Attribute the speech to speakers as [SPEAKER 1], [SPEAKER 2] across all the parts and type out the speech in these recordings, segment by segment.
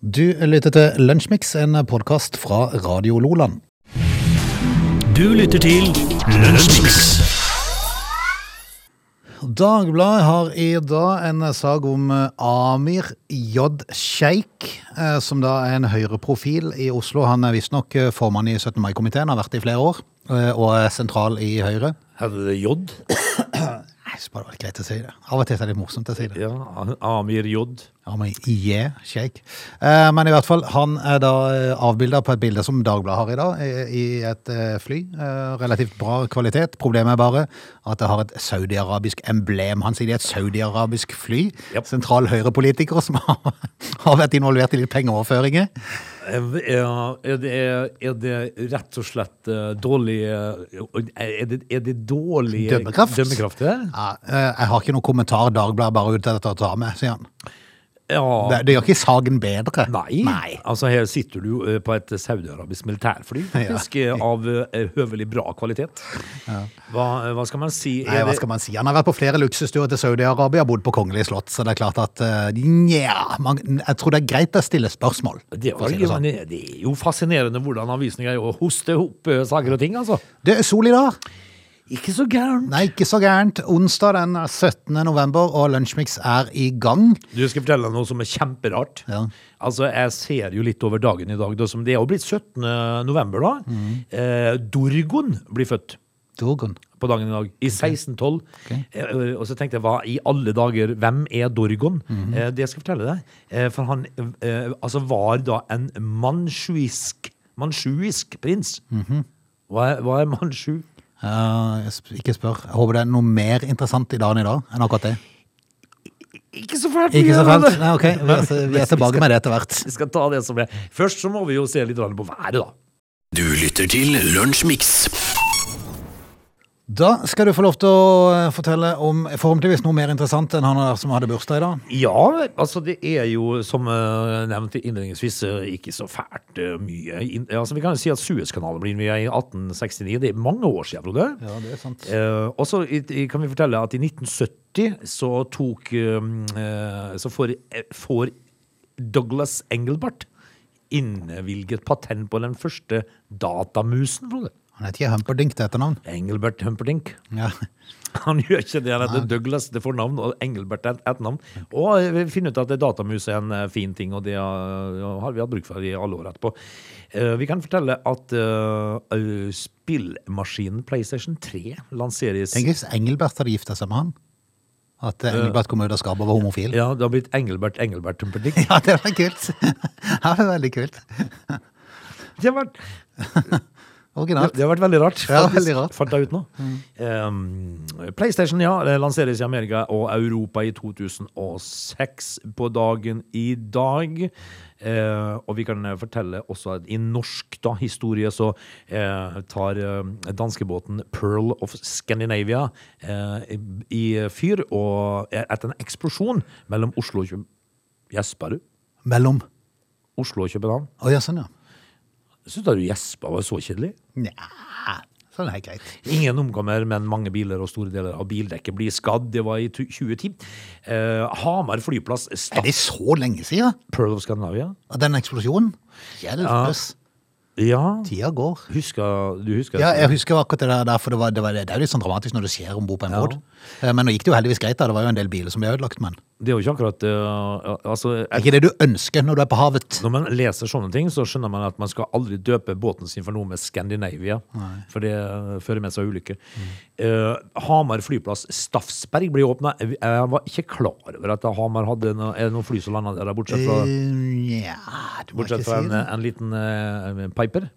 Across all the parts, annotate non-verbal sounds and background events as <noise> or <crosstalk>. [SPEAKER 1] Du lytter til Lunsjmix, en podkast fra Radio Loland.
[SPEAKER 2] Du lytter til Lunsjmix.
[SPEAKER 1] Dagbladet har i dag en sak om eh, Amir J. Sheikh, eh, som da er en høyreprofil i Oslo. Han er visstnok eh, formann i 17. mai-komiteen, har vært det i flere år, eh, og er sentral i Høyre.
[SPEAKER 3] Hadde det J?
[SPEAKER 1] Nei, så bare var det greit å si det. Av og til er det morsomt å si det.
[SPEAKER 3] Ja, Amir J.
[SPEAKER 1] Ja, men yeah, shake. Eh, men i hvert fall, han er da avbilda på et bilde som Dagbladet har i dag, eh, i et eh, fly. Eh, relativt bra kvalitet. Problemet er bare at det har et saudiarabisk emblem. Han sier det er et saudiarabisk fly.
[SPEAKER 3] Japp.
[SPEAKER 1] Sentral høyrepolitiker som har, <laughs> har vært involvert i litt pengeoverføringer.
[SPEAKER 3] Er, er, det, er det rett og slett eh, dårlig eh, Er det, er det dårlig
[SPEAKER 1] Dømmekraft.
[SPEAKER 3] dømmekraft det?
[SPEAKER 1] Ja, eh, jeg har ikke noen kommentar Dagbladet bare ut etter å ta med, sier han.
[SPEAKER 3] Ja.
[SPEAKER 1] Det, det gjør ikke saken bedre.
[SPEAKER 3] Nei. Altså, her sitter du eh, på et saudiarabisk militærfly, faktisk, eh, av eh, høvelig bra kvalitet. Hva, eh, hva skal man si? Er
[SPEAKER 1] Nei, hva
[SPEAKER 3] det-
[SPEAKER 1] skal man si? Han har vært på flere luksusstuer til Saudi-Arabia, bodd på kongelig slott, så det er klart at eh, Nja, man- jeg tror det er greit å stille spørsmål.
[SPEAKER 3] det,
[SPEAKER 1] for å
[SPEAKER 3] var,
[SPEAKER 1] si
[SPEAKER 3] jo-
[SPEAKER 1] det, sånn.
[SPEAKER 3] men det er jo fascinerende hvordan avisen greier å hoste opp eh, saker og ting, altså.
[SPEAKER 1] det er sol i dag.
[SPEAKER 3] Ikke så gærent.
[SPEAKER 1] Nei, ikke så gærent. Onsdag den 17. november, og Lunsjmix er i gang.
[SPEAKER 3] Du skal fortelle deg noe som er kjemperart.
[SPEAKER 1] Ja.
[SPEAKER 3] Altså, Jeg ser jo litt over dagen i dag. Da, som det er jo blitt 17. november, da.
[SPEAKER 1] Mm.
[SPEAKER 3] Eh, Dorgon blir født
[SPEAKER 1] Dorgon.
[SPEAKER 3] på dagen i dag. I 1612. Eh, og så tenkte jeg, hva i alle dager, hvem er Dorgon?
[SPEAKER 1] Mhm.
[SPEAKER 3] eh, det skal jeg fortelle deg. Eh, for han eh, altså var da en mansjuisk, mansjuisk prins.
[SPEAKER 1] Mhm.
[SPEAKER 3] hva, er- hva er mansju?
[SPEAKER 1] Eh, sp- ikke spør. Jeg håper det er noe mer interessant i dagen i dag enn akkurat det.
[SPEAKER 3] Ikke så fælt!
[SPEAKER 1] Ikke så fælt?
[SPEAKER 3] det.
[SPEAKER 1] Nei, ok. Vi er, vi er tilbake med det etter hvert.
[SPEAKER 3] Vi skal ta det som det. Først så må vi jo se litt grann på været, da.
[SPEAKER 2] Du lytter til Lunsjmix.
[SPEAKER 1] Da skal du få lov til å eh, fortelle om forhåpentligvis noe mer interessant enn han der som hadde bursdag i dag.
[SPEAKER 3] Ja, altså det er jo, som eh, nevnt innledningsvis, eh, ikke så fælt eh, mye. inn- altså Vi kan jo si at Suezkanalen ble innviet i 1869. Det er mange år siden, Frode.
[SPEAKER 1] Ja, det er sant.
[SPEAKER 3] Eh, og så i- i- kan vi fortelle at i 1970 så tok eh, eh, Så får, eh, får Douglas Engelbart innvilget patent på den første datamusen, Frode.
[SPEAKER 1] Han heter ikke Humperdinck til etternavn.
[SPEAKER 3] Engelbert Humperdinck.
[SPEAKER 1] Ja.
[SPEAKER 3] <laughs> Han gjør ikke det. Han heter Douglas til fornavn og Engelbert til etternavn. Og eh, vi finner ut at datamus er en eh, fin ting, og det eh, har vi hatt bruk for i alle år etterpå. Eh, Vi kan fortelle at eh, eh, spillmaskinen PlayStation 3 lanseres
[SPEAKER 1] Tenk hvis Engelbert hadde gifta seg med han. At eh, Engelbert kom ut av skapet og var homofil.
[SPEAKER 3] Ja, det har blitt Engelbert Engelbert
[SPEAKER 1] <laughs>
[SPEAKER 3] Humperdinck.
[SPEAKER 1] Ja, det var kult. <laughs> Det var veldig kult.
[SPEAKER 3] Det har vært,
[SPEAKER 1] Originalt.
[SPEAKER 3] det har vært veldig rart.
[SPEAKER 1] Ja,
[SPEAKER 3] faktisk.
[SPEAKER 1] veldig rart. Mm.
[SPEAKER 3] Fant jeg ut nå. Eh, PlayStation ja, det lanseres i Amerika og Europa i 2006 på dagen i dag. Eh, og vi kan eh, fortelle også at i norsk da, historie så eh, tar eh, danskebåten Pearl of Scandinavia eh, i fyr og etter en eksplosjon mellom Oslo og København. Gjesper du?
[SPEAKER 1] Mellom.
[SPEAKER 3] Oslo og København.
[SPEAKER 1] Å ja, sånn, ja.
[SPEAKER 3] Syns du gjespa var så kjedelig?
[SPEAKER 1] Nja, sånn er helt greit.
[SPEAKER 3] Ingen omkommer, men mange biler og store deler av bildekket blir skadd. Det var i tu- 2010. Eh, Hamar flyplass
[SPEAKER 1] Er det
[SPEAKER 3] stapp
[SPEAKER 1] så lenge siden?
[SPEAKER 3] Pearl of Scandinavia.
[SPEAKER 1] At den eksplosjonen? Hjelpes.
[SPEAKER 3] Ja,
[SPEAKER 1] Tida går.
[SPEAKER 3] husker, du husker
[SPEAKER 1] Ja, jeg husker akkurat det der, der, for det, var, det, var, det er jo litt sånn dramatisk når det skjer om bord på en
[SPEAKER 3] Ja.
[SPEAKER 1] båt. Eh, Men nå gikk det jo heldigvis greit, da. Det var jo en del biler som ble ødelagt, men det
[SPEAKER 3] Det er jo ikke akkurat eh, altså,
[SPEAKER 1] er ikke det du ønsker når du er på havet.
[SPEAKER 3] Når man leser sånne ting, så skjønner man at man skal aldri døpe båten sin for noe med Scandinavia. For det eh, fører med seg ulykker.
[SPEAKER 1] Mm.
[SPEAKER 3] Eh, Hamar flyplass Staffsberg ble åpna. Jeg var ikke klar over at Hamar hadde noe, er det noen fly som landa der, bortsett fra,
[SPEAKER 1] Eh, Nja, du må ikke
[SPEAKER 3] bortsett fra
[SPEAKER 1] si
[SPEAKER 3] en, eh.
[SPEAKER 1] det.
[SPEAKER 3] en liten eh, piper.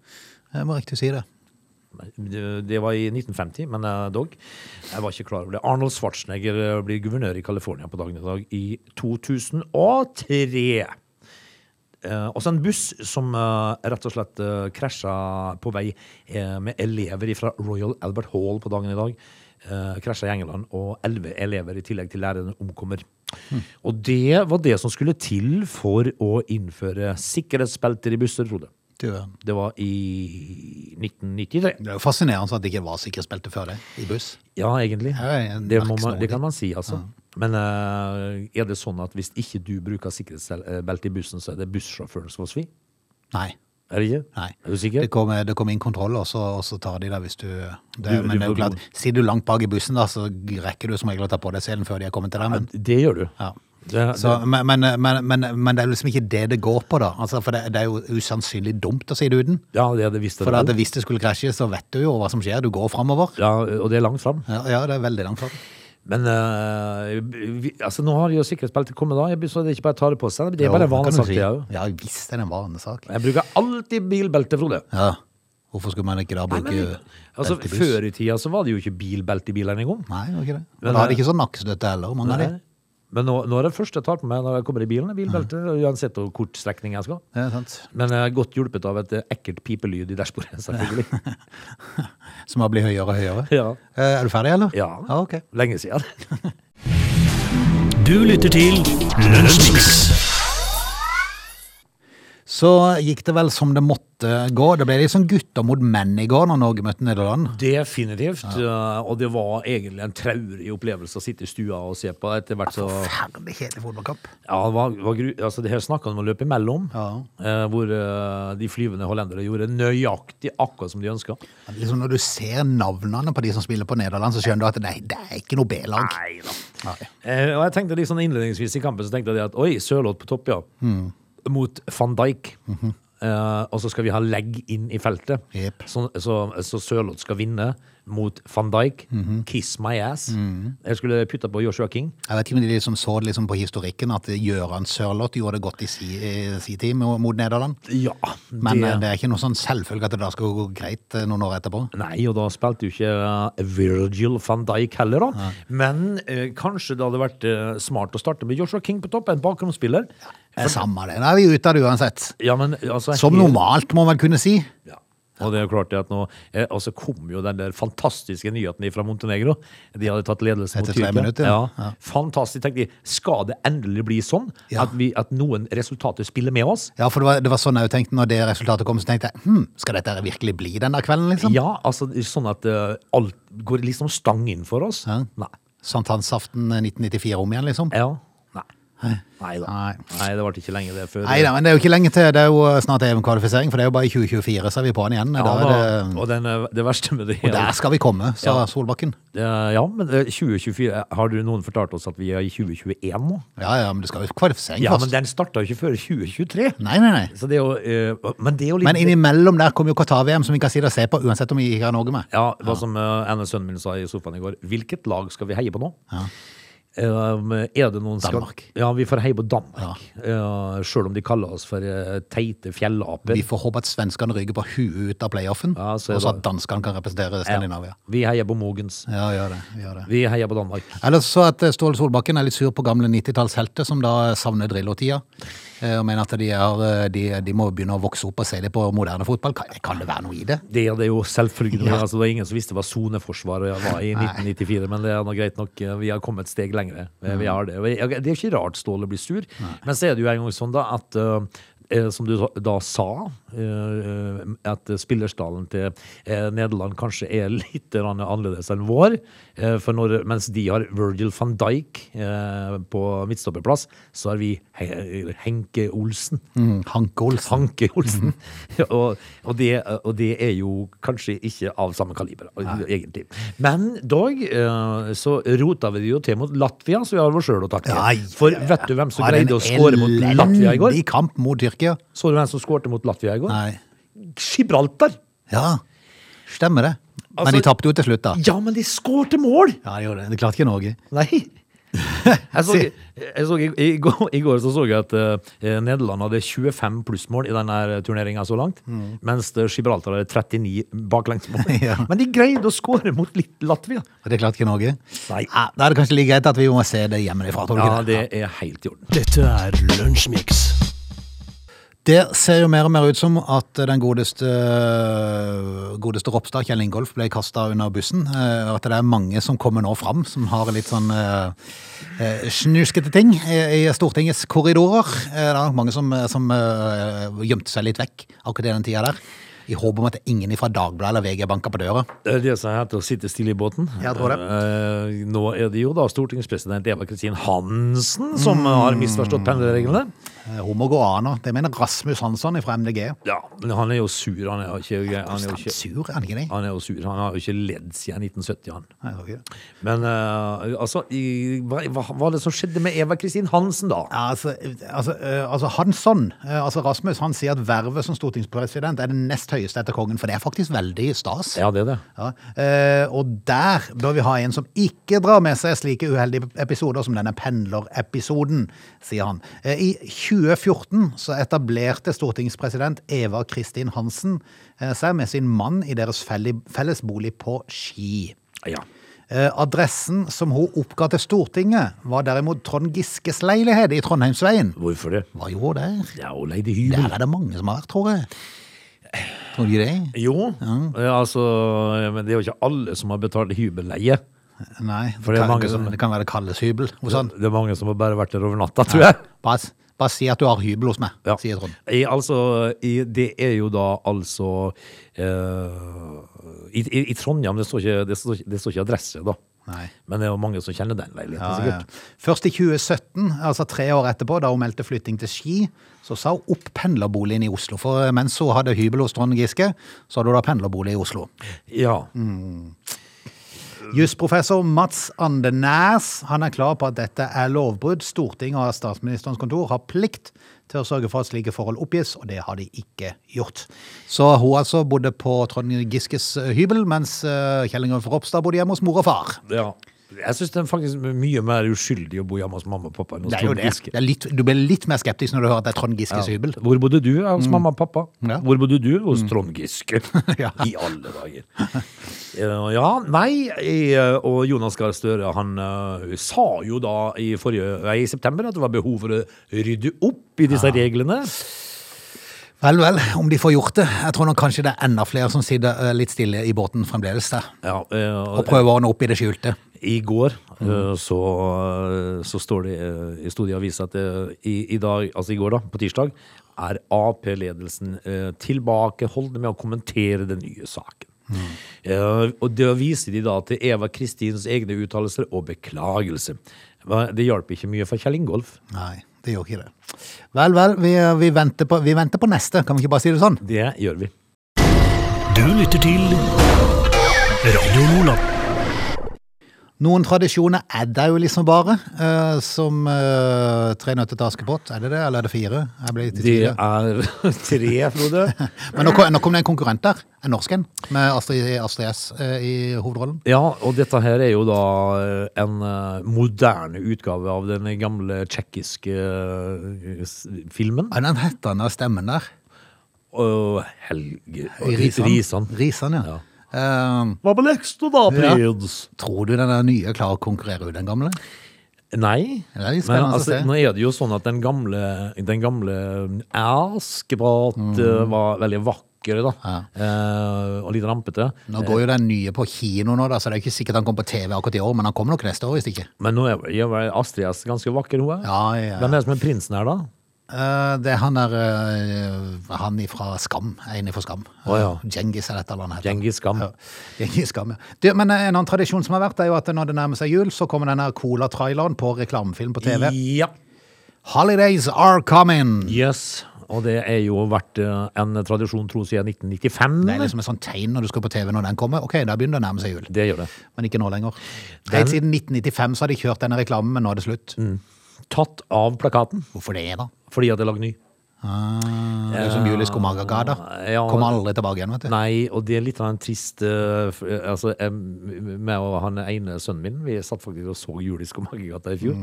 [SPEAKER 1] Jeg må riktig si det.
[SPEAKER 3] Det det var i 1950, men eh, dog. Jeg var ikke klar over det. Arnold Schwarzenegger eh, blir guvernør i California på dagen i dag i 2003. Eh, også en buss som eh, rett og slett eh, krasja på vei eh, med elever fra Royal Albert Hall på dagen i dag. Eh, krasja i England, og elleve elever i tillegg til læreren omkommer. Og det var det som skulle til for å innføre sikkerhetsbelter i busser, Frode.
[SPEAKER 1] Du, eh,
[SPEAKER 3] Det var i 1993.
[SPEAKER 1] det er jo fascinerende at det ikke var sikkerhetsbelte før det, i buss.
[SPEAKER 3] Ja, egentlig.
[SPEAKER 1] Ja, ja, ja,
[SPEAKER 3] Det, må man,
[SPEAKER 1] merksnodig.
[SPEAKER 3] det kan man si, altså. Men eh, er det sånn at hvis ikke du bruker sikkerhetsbelte i bussen, så er det bussjåføren som får svi?
[SPEAKER 1] Nei.
[SPEAKER 3] Er det ikke?
[SPEAKER 1] Nei.
[SPEAKER 3] Er du
[SPEAKER 1] Det
[SPEAKER 3] sikker?
[SPEAKER 1] kommer det kommer inn kontroll, og så, og så tar de deg hvis du det,
[SPEAKER 3] Du-
[SPEAKER 1] Men
[SPEAKER 3] du
[SPEAKER 1] det er jo
[SPEAKER 3] får
[SPEAKER 1] klart, sitter du langt bak i bussen, da, så rekker du som regel å ta på deg selen før de har kommet til deg. Men,
[SPEAKER 3] Det gjør du.
[SPEAKER 1] ja.
[SPEAKER 3] Det,
[SPEAKER 1] så, men, men, men, men, men det er liksom ikke det det går på, da. Altså, for det, det er jo usannsynlig dumt å si det uten.
[SPEAKER 3] ja, det, det visste
[SPEAKER 1] For
[SPEAKER 3] jeg
[SPEAKER 1] at
[SPEAKER 3] vel.
[SPEAKER 1] hvis det skulle krasje, så vet du jo hva som skjer. Du går framover.
[SPEAKER 3] Ja, og det er langt fram.
[SPEAKER 1] Ja, ja, det er veldig langt fram.
[SPEAKER 3] Men eh, vi, altså, nå har jo sikkerhetsbeltet kommet, da. Jeg, så det er ikke bare å ta det på seg. Det er
[SPEAKER 1] Jo, kan
[SPEAKER 3] bare
[SPEAKER 1] du
[SPEAKER 3] vanesak.
[SPEAKER 1] si.
[SPEAKER 3] det er jo.
[SPEAKER 1] Ja, visst er det en vanesak.
[SPEAKER 3] Jeg bruker alltid bilbelte, Frode.
[SPEAKER 1] Ja. Hvorfor skulle man ikke da bruke
[SPEAKER 3] Altså,
[SPEAKER 1] belte i buss?
[SPEAKER 3] før i tida så var det jo ikke bilbelte i bilene engang.
[SPEAKER 1] Nei, det var ikke det.
[SPEAKER 3] Men,
[SPEAKER 1] Men da hadde
[SPEAKER 3] eh,
[SPEAKER 1] ikke sånn nakkestøtte heller, mange av de.
[SPEAKER 3] Nei. Men nå, nå er det første jeg tar på meg når jeg kommer i bilen, er bilbelte.
[SPEAKER 2] Mm.
[SPEAKER 3] Uansett hvor kort strekning jeg skal.
[SPEAKER 1] Ja, sant.
[SPEAKER 3] Men jeg er godt hjulpet av et eh, ekkelt pipelyd i dashbordet, selvfølgelig.
[SPEAKER 2] <laughs>
[SPEAKER 1] Som har blitt høyere og høyere.
[SPEAKER 3] Ja.
[SPEAKER 1] Eh, Er du ferdig, eller?
[SPEAKER 3] Ja.
[SPEAKER 1] ja ok.
[SPEAKER 3] Lenge siden.
[SPEAKER 2] <laughs> Du lytter til Lunsjmix.
[SPEAKER 1] Så gikk det vel som det måtte gå. Det ble litt sånn gutter mot menn i går når Norge møtte Nederland.
[SPEAKER 3] Definitivt. eh, Og det var egentlig en traurig opplevelse å sitte i stua og se på. Etter hvert så
[SPEAKER 1] Forferdelig kjedelig fotballkamp.
[SPEAKER 3] Ja, det var, var gru... Altså, det her snakka om å løpe imellom.
[SPEAKER 1] Ja.
[SPEAKER 3] eh, Hvor eh, de flyvende hollendere gjorde nøyaktig akkurat som de ønska.
[SPEAKER 1] Liksom når du ser navnene på de som spiller på Nederland, så skjønner du at nei, det er ikke noe B-lag.
[SPEAKER 3] Nei da.
[SPEAKER 1] Nei.
[SPEAKER 3] Eh, og jeg tenkte litt sånn innledningsvis i kampen så tenkte jeg det at oi, Sørloth på topp, ja.
[SPEAKER 1] Mm.
[SPEAKER 3] Mot van Dijk. eh, og så skal vi ha legg inn i feltet.
[SPEAKER 1] Mhm. Jep.
[SPEAKER 3] Så, så, så Sørloth skal vinne mot van Dijk.
[SPEAKER 1] Mhm.
[SPEAKER 3] Kiss my ass. Jeg skulle putta på Joshua King.
[SPEAKER 1] Jeg vet ikke om de liksom så det liksom på historikken at Gøran Sørloth gjorde det godt i si, i si tid mo- mot Nederland.
[SPEAKER 3] Ja,
[SPEAKER 1] Men eh,
[SPEAKER 3] det,
[SPEAKER 1] det er ikke noe sånn selvfølge at det da skal gå greit eh, noen år etterpå.
[SPEAKER 3] Nei, og da spilte jo ikke eh, Virgil van Dijk heller, da. Men eh, kanskje det hadde vært eh, smart å starte med Joshua King på topp, en bakgrunnsspiller.
[SPEAKER 1] Det er samme det. Nå er vi ute av det uansett.
[SPEAKER 3] Ja, men, altså,
[SPEAKER 1] Som
[SPEAKER 3] helt-
[SPEAKER 1] normalt, må man kunne si.
[SPEAKER 3] Ja. Og det er jo klart det at nå eh, Og så kom jo den der fantastiske nyheten fra Montenegro. De hadde tatt ledelse mot
[SPEAKER 1] Etter tre
[SPEAKER 3] Tyrkia.
[SPEAKER 1] minutter,
[SPEAKER 3] ja.
[SPEAKER 1] ja. Ja.
[SPEAKER 3] Fantastisk. tenkte de, Skal det endelig bli sånn
[SPEAKER 1] Ja.
[SPEAKER 3] at, vi, at noen resultater spiller med oss?
[SPEAKER 1] Ja, for det var, det var sånn jeg tenkte når det resultatet kom, så tenkte jeg hm, skal dette virkelig bli den der kvelden, liksom?
[SPEAKER 3] Ja, altså sånn at eh, alt går liksom stang inn for oss?
[SPEAKER 1] Ja.
[SPEAKER 3] Nei.
[SPEAKER 1] Sankthansaften eh, 1994 om igjen, liksom?
[SPEAKER 3] Ja. Nei. Nei da.
[SPEAKER 1] Nei.
[SPEAKER 3] Nei, det ble ikke lenge det før. eh,
[SPEAKER 1] Nei da, men det er jo ikke lenge til. Det er jo eh, snart EM-kvalifisering, for det er jo bare i 2024 så er vi på den igjen.
[SPEAKER 3] Ja,
[SPEAKER 1] da er
[SPEAKER 3] da-
[SPEAKER 1] det,
[SPEAKER 3] og den, eh, det verste med det
[SPEAKER 1] og der skal vi komme, sa
[SPEAKER 3] Ja.
[SPEAKER 1] Solbakken.
[SPEAKER 3] Eh, Ja, men eh, 2024 Har du noen fortalt oss at vi er i 2021 nå?
[SPEAKER 1] Ja ja, men det skal jo kvalifisering
[SPEAKER 3] Ja, men
[SPEAKER 1] først.
[SPEAKER 3] den starta jo ikke før i 2023.
[SPEAKER 1] Nei, nei, nei.
[SPEAKER 3] Så det er jo, eh, men det er jo litt
[SPEAKER 1] Men innimellom der kom jo Qatar-VM, som vi kan sitte og se på uansett om vi ikke har Norge med.
[SPEAKER 3] Ja, hva som eh, ene sønnen min sa i sofaen i går. Hvilket lag skal vi heie på nå?
[SPEAKER 1] Ja.
[SPEAKER 3] Um, er det noen skal...
[SPEAKER 1] Danmark.
[SPEAKER 3] Ja, vi får heie på Danmark. Eh, selv om de kaller oss for eh, teite fjellaper.
[SPEAKER 1] Vi får håpe at svenskene ryker på huet ut av playoffen,
[SPEAKER 3] Ja, så er
[SPEAKER 1] og så
[SPEAKER 3] det-
[SPEAKER 1] at danskene kan representere Skandinavia.
[SPEAKER 3] Vi heier på Mogens.
[SPEAKER 1] Ja, gjør det. Gjør det.
[SPEAKER 3] Vi heier på Danmark.
[SPEAKER 1] Ellers så at eh, Ståle Solbakken er litt sur på gamle 90-tallshelter som da savner Drillo-tida. eh, Og mener at de, er, eh, de, de må begynne å vokse opp og se det på moderne fotball. Kan, kan det være noe i det?
[SPEAKER 3] Det er det jo selvfølgelig. Altså, det var ingen som visste hva soneforsvaret var i 1994, men det er nå greit nok. eh, Vi har kommet et steg lengre. Eh, Vi vi har det. Og jeg- Det er jo ikke rart Ståle blir sur, men så er det jo en gang sånn da at eh, eh, som du da sa, eh, at spillerstallen til eh, Nederland kanskje er litt grann annerledes enn vår. eh, For når, mens de har Virgil van Dijk eh, på midtstopperplass, så har vi He- Henke Olsen.
[SPEAKER 1] Mm, Hanke Olsen.
[SPEAKER 3] Hanke Olsen. <laughs> og, og, det, og det er jo kanskje ikke av samme kaliber, egentlig. Men dog eh, så rota vi det jo til mot Latvia, så vi har vår sjøl å takke.
[SPEAKER 1] Ja, ja,
[SPEAKER 3] For
[SPEAKER 1] ja.
[SPEAKER 3] vet du hvem som
[SPEAKER 1] Var det
[SPEAKER 3] greide å
[SPEAKER 1] en
[SPEAKER 3] skåre mot Latvia i går?
[SPEAKER 1] Elendig kamp mot Tyrkia.
[SPEAKER 3] Så du hvem som skårte mot Latvia i går?
[SPEAKER 1] Nei.
[SPEAKER 3] Gibraltar!
[SPEAKER 1] Ja, stemmer det. Men
[SPEAKER 3] Altså-
[SPEAKER 1] de tapte jo til slutt, da.
[SPEAKER 3] Ja, men de skårte mål!
[SPEAKER 1] Ja, de gjorde det. Det klarte ikke Norge.
[SPEAKER 3] Nei. <laughs> Jeg så,
[SPEAKER 1] Se.
[SPEAKER 3] jeg så, i, i, går, I går så så jeg at eh, Nederland hadde 25 plussmål i denne turneringa så langt, mens eh, Gibraltar hadde 39 baklengsmål.
[SPEAKER 1] Mm. <laughs> Ja.
[SPEAKER 3] Men de greide å skåre mot litt Latvia.
[SPEAKER 1] Og det klarte ikke Norge.
[SPEAKER 3] Nei.
[SPEAKER 1] Ja, da er det kanskje like greit at vi må se det hjemmefra. tror du
[SPEAKER 3] Ja,
[SPEAKER 1] ikke
[SPEAKER 3] det er helt i orden.
[SPEAKER 2] Dette er Lunsjmix.
[SPEAKER 1] Det ser jo mer og mer ut som at den godeste, godeste Ropstad, Kjell Ingolf, ble kasta under bussen. eh, og At det er mange som kommer nå fram, som har litt sånn eh, eh, snuskete ting i i Stortingets eh, korridorer. Eh, Det er nok mange som, som eh, gjemte seg litt vekk akkurat i den tida der. I håp om at ingen fra Dagbladet eller VG banker på døra.
[SPEAKER 3] Det er det som heter å sitte stille i båten.
[SPEAKER 1] Jeg tror det.
[SPEAKER 3] Eh, nå er det jo da stortingspresident Eva Kristin Hansen som
[SPEAKER 1] Mm.
[SPEAKER 3] har misforstått pendlerreglene.
[SPEAKER 1] Eh, Homo goana. Det mener Rasmus Hansson fra MDG.
[SPEAKER 3] Ja, men han er jo sur. Han er jo ikke, han er jo ikke,
[SPEAKER 1] Sur, er han ikke det?
[SPEAKER 3] han er jo sur. Han har jo ikke ledd siden 1970, han.
[SPEAKER 1] Nei, jeg tror ikke det.
[SPEAKER 3] Men eh, altså, i, hva, hva var det som skjedde med Eva Kristin Hansen, da?
[SPEAKER 1] Ja, altså, altså, eh, altså Hansson, eh, altså Rasmus, han sier at vervet som stortingspresident er det nest høyeste etter kongen, for det er faktisk veldig stas.
[SPEAKER 3] Ja, det er det.
[SPEAKER 1] Ja, eh, og der bør vi ha en som ikke drar med seg slike uheldige episoder som denne pendlerepisoden, sier han. Eh, I 2014 så etablerte stortingspresident Eva Kristin Hansen eh, seg med sin mann i deres felli- felles bolig på Ski.
[SPEAKER 3] Ja.
[SPEAKER 1] Eh, Adressen som hun oppga til Stortinget, var derimot Trond Giskes leilighet i Trondheimsveien.
[SPEAKER 3] Hvorfor det?
[SPEAKER 1] Var jo hun der?
[SPEAKER 3] Ja, hun leide hybel.
[SPEAKER 1] Der er det mange som har vært, tror jeg. Tror du ikke det?
[SPEAKER 3] Jo, eh, altså Men det er jo ikke alle som har betalt hybelleie.
[SPEAKER 1] Nei, det,
[SPEAKER 3] For det er
[SPEAKER 1] kan,
[SPEAKER 3] mange som-
[SPEAKER 1] det kan være det kalles hybel hos han.
[SPEAKER 3] Det er mange som har bare vært der over natta, tror jeg.
[SPEAKER 1] Bare, s- bare si at du har hybel hos meg,
[SPEAKER 3] Ja.
[SPEAKER 1] sier Trond.
[SPEAKER 3] I, altså, i, det er jo da altså eh, i, i, I Trondheim, det står, ikke, det, står, ikke- det står ikke adresse, da.
[SPEAKER 1] Nei.
[SPEAKER 3] Men det er jo mange som kjenner den leiligheten,
[SPEAKER 1] Ja, ja.
[SPEAKER 3] sikkert.
[SPEAKER 1] Først i 2017, altså tre år etterpå, da hun meldte flytting til Ski, så sa hun opp pendlerboligen i Oslo. For mens hun hadde hybel hos Trond Giske, så hadde hun da pendlerbolig i Oslo.
[SPEAKER 3] Ja.
[SPEAKER 1] Jusprofessor Mats Andenæs han er klar på at dette er lovbrudd. Stortinget og statsministerens kontor har plikt til å sørge for at slike forhold oppgis, og det har de ikke gjort. Så hun altså bodde på Trond Giskes hybel, mens eh, Kjell Ingolf Ropstad bodde hjemme hos mor og far.
[SPEAKER 3] ja. Jeg syns det er faktisk mye mer uskyldig å bo hjemme hos mamma og pappa enn hos
[SPEAKER 1] Det er jo
[SPEAKER 3] Trond
[SPEAKER 1] det.
[SPEAKER 3] Giske.
[SPEAKER 1] det er litt, du blir litt mer skeptisk når du hører at det er Trond Giskes
[SPEAKER 3] Ja.
[SPEAKER 1] hybel.
[SPEAKER 3] Hvor bodde du? Ja, Hos mamma og pappa.
[SPEAKER 1] Mm. Ja. Mm.
[SPEAKER 3] Hvor bodde du? Hos Trond Giske.
[SPEAKER 1] <laughs> Ja.
[SPEAKER 3] I alle dager. Eh, Ja, nei, jeg, eh, og Jonas Gahr Støre han eh, sa jo da i, forrige, nei, i september at det var behov for å rydde opp i
[SPEAKER 1] Ah.
[SPEAKER 3] disse reglene.
[SPEAKER 1] Vel, vel, om de får gjort det. Jeg tror nok kanskje det er enda flere som sitter eh, litt stille i båten fremdeles der,
[SPEAKER 3] Ja, eh,
[SPEAKER 1] og prøver å ordne opp i det skjulte.
[SPEAKER 3] I går eh, så, så står det eh, sto det i avisa at eh, i, i dag, altså i går da, på tirsdag, er Ap-ledelsen eh, tilbakeholdne med å kommentere den nye saken. Eh, og det viser de da til Eva Kristins egne uttalelser og beklagelse. Hva- Det hjalp ikke mye for Kjell Ingolf.
[SPEAKER 1] Nei, det gjorde ikke det. Vel, vel, vi, vi, venter på, vi venter på neste, kan vi ikke bare si det sånn?
[SPEAKER 3] Det gjør vi.
[SPEAKER 2] Du lytter til Radio Nordland.
[SPEAKER 1] Noen tradisjoner er det jo liksom bare, eh, som eh, Tre nøtter til Askepott, er det det, eller er det fire? Jeg ble litt i
[SPEAKER 3] Det
[SPEAKER 1] tvil.
[SPEAKER 3] er <laughs> tre, Frode.
[SPEAKER 1] <laughs> Men nå, kom- nå kom det en konkurrent der, en norsk en, med Astrid, Astrid S eh, i hovedrollen.
[SPEAKER 3] Ja, og dette her er jo da eh, en eh, moderne utgave av den gamle tsjekkiske eh, s- filmen.
[SPEAKER 1] Ja, den heter den der stemmen der.
[SPEAKER 3] Og Helge og
[SPEAKER 1] Risan.
[SPEAKER 3] Risan.
[SPEAKER 1] Risan, ja.
[SPEAKER 3] Ja.
[SPEAKER 1] Eh,
[SPEAKER 3] Hva med lekser da,
[SPEAKER 1] prins? tror du den der nye klarer å konkurrere ut den gamle?
[SPEAKER 3] Nei.
[SPEAKER 1] Det er litt
[SPEAKER 3] Men
[SPEAKER 1] spennende
[SPEAKER 3] altså,
[SPEAKER 1] å se.
[SPEAKER 3] nå er det jo sånn at den gamle, den gamle Askepott
[SPEAKER 1] Mm.
[SPEAKER 3] eh, var veldig vakker, da. Eh, og litt rampete.
[SPEAKER 1] Nå går jo den nye på kino nå, da, så det er ikke sikkert han kommer på TV akkurat i år, men han kommer nok neste år, hvis ikke.
[SPEAKER 3] Men nå er er vel Astrid S ganske vakker, hun er.
[SPEAKER 1] Ja, ja, ja.
[SPEAKER 3] Hvem er det som er prinsen her, da?
[SPEAKER 1] Eh, det er han der eh, Han ifra Skam. En ifra Skam. Eh,
[SPEAKER 3] Å, ja.
[SPEAKER 1] Djengis er dette hva han heter.
[SPEAKER 3] Djengis Khan.
[SPEAKER 1] Ja. Djengis Khan, ja. Du, men eh, en annen tradisjon som har vært, er jo at når det nærmer seg jul, så kommer denne Cola-traileren på reklamefilm på TV.
[SPEAKER 3] Ja.
[SPEAKER 1] Holidays are coming!
[SPEAKER 3] Yes, og det er jo vært eh, en tradisjon, tro, siden
[SPEAKER 1] Det er
[SPEAKER 3] 1995.
[SPEAKER 1] liksom et sånt tegn når du skal på TV når den kommer. Ok, da begynner det å nærme seg jul.
[SPEAKER 3] Det gjør det.
[SPEAKER 1] Men ikke nå lenger.
[SPEAKER 3] Den- Mm.
[SPEAKER 1] Helt siden 1995 så har de kjørt denne reklamen, men nå er det slutt.
[SPEAKER 3] Tatt av plakaten,
[SPEAKER 1] Hvorfor det, da?
[SPEAKER 3] fordi at det er lagd ny.
[SPEAKER 1] Ah, det er jo som jul i Skomagergata.
[SPEAKER 3] Ja.
[SPEAKER 1] Kommer aldri tilbake igjen, vet du.
[SPEAKER 3] Nei, og det er litt av en trist eh, f- eh, Altså, meg og han ene sønnen min, vi satt faktisk og så Jul i Skomagergata i fjor.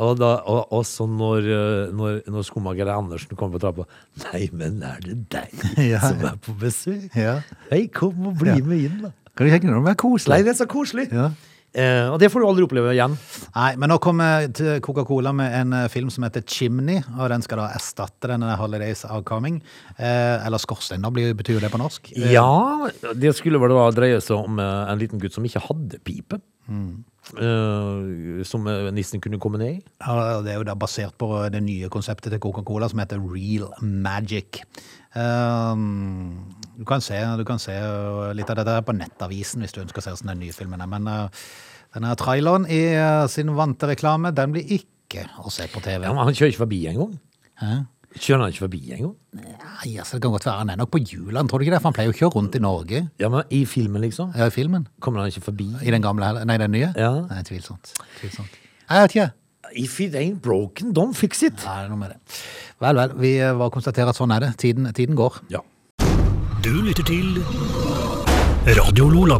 [SPEAKER 3] Og, da, og, og så når, eh, når, når skomager Andersen kom på trappa Nei, men er det <laughs> deg
[SPEAKER 1] Ja.
[SPEAKER 3] som er på besøk?
[SPEAKER 1] Ja.
[SPEAKER 3] Hei, kom og bli med inn, da.
[SPEAKER 1] Kan du tenke deg om det er koselig?
[SPEAKER 3] Nei, det er så koselig.
[SPEAKER 1] Ja.
[SPEAKER 3] Eh, og det får du aldri oppleve igjen.
[SPEAKER 1] Nei, men nå kommer til Coca-Cola med en eh, film som heter Chimney, og den skal da erstatte denne Holidays Are Coming. Eh, eller Skorstein, da blir, betyr jo det på norsk. Eh,
[SPEAKER 3] Ja, det skulle vel da dreie seg om eh, en liten gutt som ikke hadde pipe. eh, som eh, nissen kunne komme ned i.
[SPEAKER 1] Ja, Eh, Det er jo da basert på eh, det nye konseptet til Coca-Cola som heter Real Magic. Ehm, Du kan se, du kan se eh, litt av dette her på Nettavisen hvis du ønsker å se hvordan den nye filmen er. Men eh, denne traileren i eh, sin vante reklame, den blir ikke å se på TV.
[SPEAKER 3] Ja, men han kjører ikke forbi engang.
[SPEAKER 1] Hæ?
[SPEAKER 3] Kjører han ikke forbi engang?
[SPEAKER 1] Nei, altså, det kan godt være han er nok på julen, tror du ikke det? For han pleier jo å kjøre rundt i Norge
[SPEAKER 3] Ja, men i filmen, liksom.
[SPEAKER 1] ja, i Eh, filmen.
[SPEAKER 3] Kommer han ikke forbi?
[SPEAKER 1] I den gamle, heller- nei, den nye?
[SPEAKER 3] Ja.
[SPEAKER 1] Nei, tvilsomt. tvilsomt. Nei, Jeg vet ikke.
[SPEAKER 3] If it ain't broken, don't fix it.
[SPEAKER 1] Nei, det er noe med det. Vel, vel, vi eh, bare konstaterer at sånn er det. Tiden, tiden går.
[SPEAKER 3] Ja.
[SPEAKER 2] Du lytter til Radio Lola.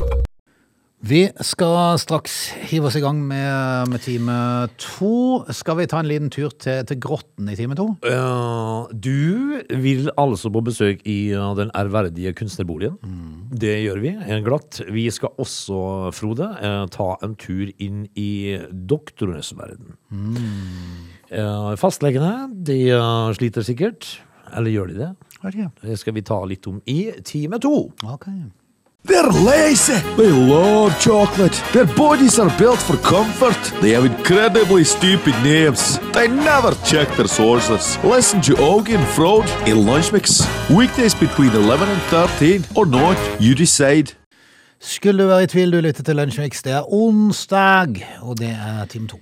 [SPEAKER 1] Vi skal straks hive oss i gang med, med time to. Skal vi ta en liten tur til, til Grotten i time to?
[SPEAKER 3] Eh, du vil altså på besøk i eh, den ærverdige kunstnerboligen. Det gjør vi eh, glatt. Vi skal også, Frode, eh, ta en tur inn i doktorenes verden. Eh, fastlegene, de eh, sliter sikkert. Eller gjør de det? Det skal vi ta litt om i time to.
[SPEAKER 1] Ok.
[SPEAKER 4] They're lazy. They love chocolate. Their bodies are built for comfort. They have incredibly stupid names. They never check their sources. Listen to Augie and Frode in Lunch Mix. Weekdays between 11 and 13 or not, you decide.
[SPEAKER 1] Skulle du være i tvil, du lytter til Lunsjmix. Det er onsdag, og det er time to.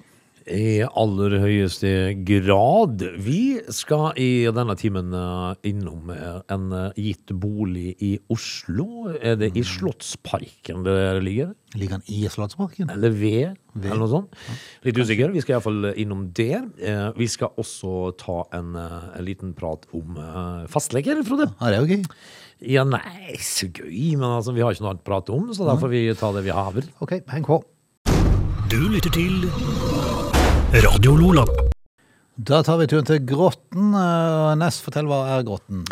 [SPEAKER 3] I aller høyeste grad. Vi skal i denne timen eh, innom eh, en eh, gitt bolig i Oslo. Er det i Slottsparken det ligger?
[SPEAKER 1] Ligger han i Slottsparken?
[SPEAKER 3] Eller ved, eller noe sånt. Litt usikker. Vi skal iallfall innom der. Eh, Vi skal også ta en, eh, en liten prat om eh, fastleger, Frode.
[SPEAKER 1] Ja, det er jo gøy.
[SPEAKER 3] Ja, nei, så gøy, men altså, vi har ikke noe annet å prate om, så da får vi ta det vi haver.
[SPEAKER 1] Ok, heng på.
[SPEAKER 2] Du lytter til Radio Lola.
[SPEAKER 1] Da tar vi turen til Grotten. Eh, Nest, fortell hva er Grotten?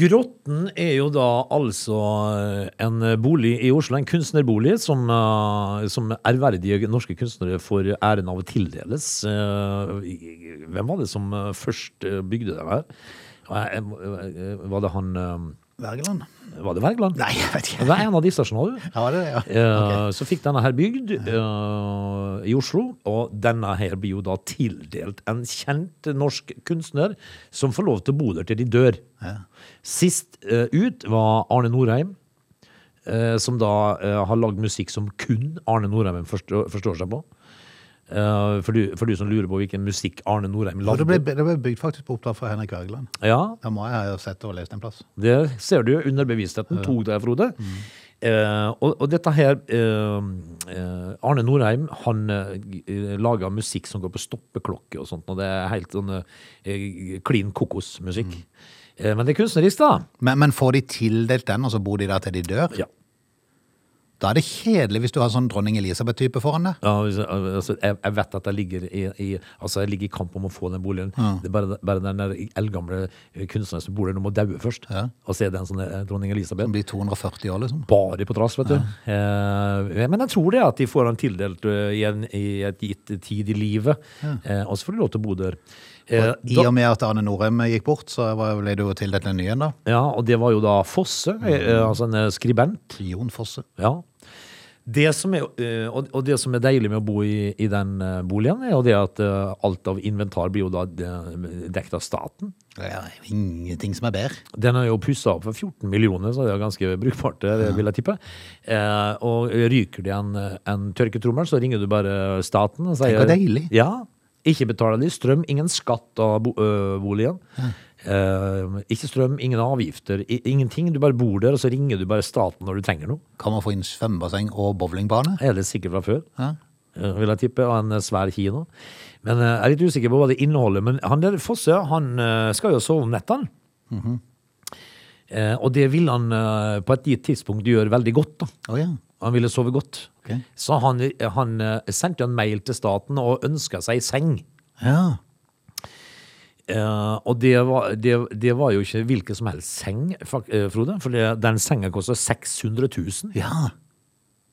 [SPEAKER 3] Grotten er jo da altså en bolig i Oslo, en kunstnerbolig, som, eh, som ærverdige norske kunstnere får æren av å tildeles. Eh, i- Hvem var det som eh, først eh, bygde den her? Eh, eh, Var det han eh,
[SPEAKER 1] Wergeland?
[SPEAKER 3] Var det Wergeland?
[SPEAKER 1] Nei, jeg vet ikke.
[SPEAKER 3] Det er en av disse, skjønner du.
[SPEAKER 1] Ja, det er det, ja.
[SPEAKER 3] Eh, Så fikk denne her bygd eh, i Oslo, og denne her blir jo da tildelt en kjent norsk kunstner som får lov til å bo der til de dør. Sist eh, ut var Arne Norheim, eh, som da eh, har lagd musikk som kun Arne Norheim forstår, forstår seg på. Eh, for, du, for du som lurer på hvilken musikk Arne Norheim
[SPEAKER 1] Og
[SPEAKER 3] lagde.
[SPEAKER 1] det ble, det ble bygd faktisk på oppdrag fra Henrik Wergeland.
[SPEAKER 3] Ja,
[SPEAKER 1] Det må jeg ha sett og lest en plass.
[SPEAKER 3] Det ser du under bevisstheten tok deg, Frode. Eh, og, og dette her eh, eh, Arne Norheim han eh, g- lager musikk som går på stoppeklokke og sånt, og det er helt sånn eh, klin kokosmusikk. Eh, men det er kunstnerisk, da.
[SPEAKER 1] Men, men får de tildelt den, og så bor de der til de dør?
[SPEAKER 3] Ja.
[SPEAKER 1] Da er det kjedelig hvis du har sånn dronning Elisabeth-type foran deg.
[SPEAKER 3] Ja, hvis- altså, jeg, jeg vet at jeg ligger i, i Altså, jeg ligger i kamp om å få den boligen. Det er bare, bare den der eldgamle kunstneren som bor der, du må daue først.
[SPEAKER 1] Ja.
[SPEAKER 3] Og så er det en sånn eh, dronning Elisabeth.
[SPEAKER 1] Som blir 240 år, liksom.
[SPEAKER 3] bare på trass, vet du. Eh, men jeg tror det at de får han tildelt eh, i, en, i et gitt tid i livet. Eh, og så får de lov til å bo der. Eh,
[SPEAKER 1] I
[SPEAKER 3] da,
[SPEAKER 1] og med at Arne Norheim gikk bort, så var- ble det jo tildelt en ny en, da.
[SPEAKER 3] ja, og det var jo da Fosse, eh, eh,
[SPEAKER 1] Mm.
[SPEAKER 3] altså en eh, skribent.
[SPEAKER 1] Jon Fosse.
[SPEAKER 3] Ja. Det som er, eh, og og det som er deilig med å bo i, i den eh, boligen, er jo det at eh, alt av inventar blir jo da eh, dekt av staten.
[SPEAKER 1] Det er ingenting som er bedre.
[SPEAKER 3] Den er jo pussa opp for 14 millioner, så det er ganske brukbart, det vil jeg tippe. Eh, og ryker det en, en tørketrommel, så ringer du bare staten og sier
[SPEAKER 1] Tenk hvor deilig.
[SPEAKER 3] Ja. Ikke betaler de strøm, ingen skatt av bo ø, boligen. Eh, ikke strøm, ingen avgifter, i, ingenting. Du bare bor der, og så ringer du bare staten når du trenger noe.
[SPEAKER 1] Kan man få inn svømmebasseng og bowlingbane?
[SPEAKER 3] Er det sikkert fra før?
[SPEAKER 1] Ja.
[SPEAKER 3] eh, vil jeg tippe, og en eh, svær kino. Men eh, jeg er litt usikker på hva det inneholder. Men han der Fosse, han eh, skal jo sove om nettene. Eh, og det vil han eh, på et gitt tidspunkt gjøre veldig godt, da.
[SPEAKER 1] Å ja.
[SPEAKER 3] Han ville sove godt.
[SPEAKER 1] Ok.
[SPEAKER 3] Så han, han eh, sendte en mail til staten og ønska seg seng.
[SPEAKER 1] ja.
[SPEAKER 3] Eh, og det var, det, det var jo ikke hvilken som helst seng, fak- eh, Frode. For det, den senga kosta 600 000.
[SPEAKER 1] Ja.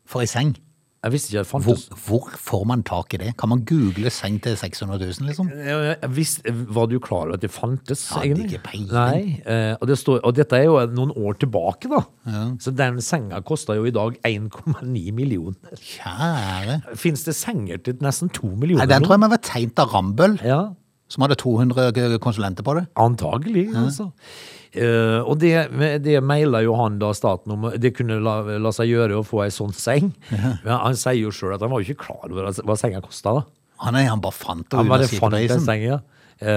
[SPEAKER 1] For ei seng.
[SPEAKER 3] Eh, Jeg visste ikke at det
[SPEAKER 1] Hvor,
[SPEAKER 3] fantes
[SPEAKER 1] hvor får man tak i det? Kan man google seng til 600 000, liksom?
[SPEAKER 3] Jeg- jeg visste, Var du klar over at det fantes?
[SPEAKER 1] Hadde
[SPEAKER 3] egentlig?
[SPEAKER 1] ikke peiling.
[SPEAKER 3] Nei, eh, og, det står, og dette er jo eh, noen år tilbake, da. Så den senga koster jo i dag 1,9 millioner.
[SPEAKER 1] Kjære.
[SPEAKER 3] Fins det senger til nesten 2
[SPEAKER 1] Nei,
[SPEAKER 3] millioner?
[SPEAKER 1] den tror
[SPEAKER 3] nå?
[SPEAKER 1] jeg må ha vært tegnet av Rambøll,
[SPEAKER 3] Ja,
[SPEAKER 1] som hadde 200 konsulenter på det.
[SPEAKER 3] Antagelig, altså. Eh, og det, det maila jo han da staten om. Det kunne la, la seg gjøre å få ei sånn seng. Men han sier jo sjøl at han var jo ikke klar over at- hva senga kosta.
[SPEAKER 1] Han, er- han bare fant det
[SPEAKER 3] Han
[SPEAKER 1] under
[SPEAKER 3] bare fant den
[SPEAKER 1] sidepeisen.
[SPEAKER 3] senga. Eh,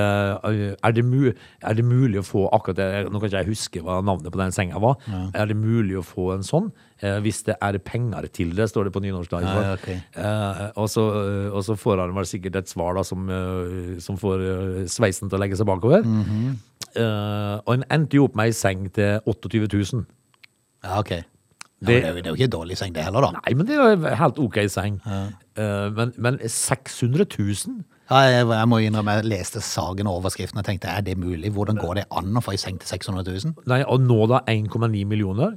[SPEAKER 3] er, det mu er det mulig å få akkurat det Nå kan ikke jeg huske hva navnet på den senga var. Er det mulig å få en sånn? Eh, hvis det er penger til det, står det på nynorskdagen.
[SPEAKER 1] Ja, ja, ok.
[SPEAKER 3] Eh, og, så, eh, og så får han vel sikkert et svar da, som, eh, som får eh, sveisen til å legge seg bakover. Eh, og han endte jo opp med ei seng til 28 000.
[SPEAKER 1] Ja, ok. Ja,
[SPEAKER 3] Det-
[SPEAKER 1] men det, er jo, det er jo ikke dårlig seng det heller, da.
[SPEAKER 3] Nei, men det er jo en helt ok seng. Eh, men, men 600 000?
[SPEAKER 1] Ja, jeg, jeg må innrømme, jeg leste saken og overskriften og tenkte, er det mulig? Hvordan går det an å få en seng til 600 000?
[SPEAKER 3] Nei, og nå da 1,9 millioner.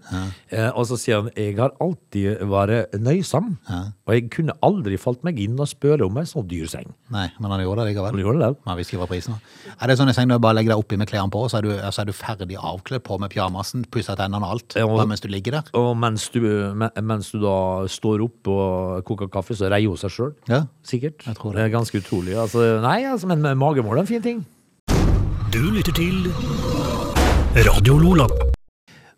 [SPEAKER 3] Eh, og så sier han jeg har alltid vært nøysom, og jeg kunne aldri falt meg inn og spørre om en så dyr seng.
[SPEAKER 1] Nei, men han gjorde det
[SPEAKER 3] Han
[SPEAKER 1] likevel.
[SPEAKER 3] gjorde det.
[SPEAKER 1] Man visste ikke hva prisen var. Er det sånn en seng når du bare legger deg oppi med klærne på, så er du, så er du ferdig avkledd på med pyjamasen, pusset tennene og alt,
[SPEAKER 3] Ja, og-
[SPEAKER 1] bare mens du ligger der?
[SPEAKER 3] Og mens du, men- mens du da står opp og koker kaffe, så reier hun seg sjøl.
[SPEAKER 1] Ja.
[SPEAKER 3] Sikkert.
[SPEAKER 1] Jeg tror det.
[SPEAKER 3] det. er ganske utrolig. Altså, nei, altså, men magemål er en fin ting.
[SPEAKER 2] Du lytter til Radio Lola.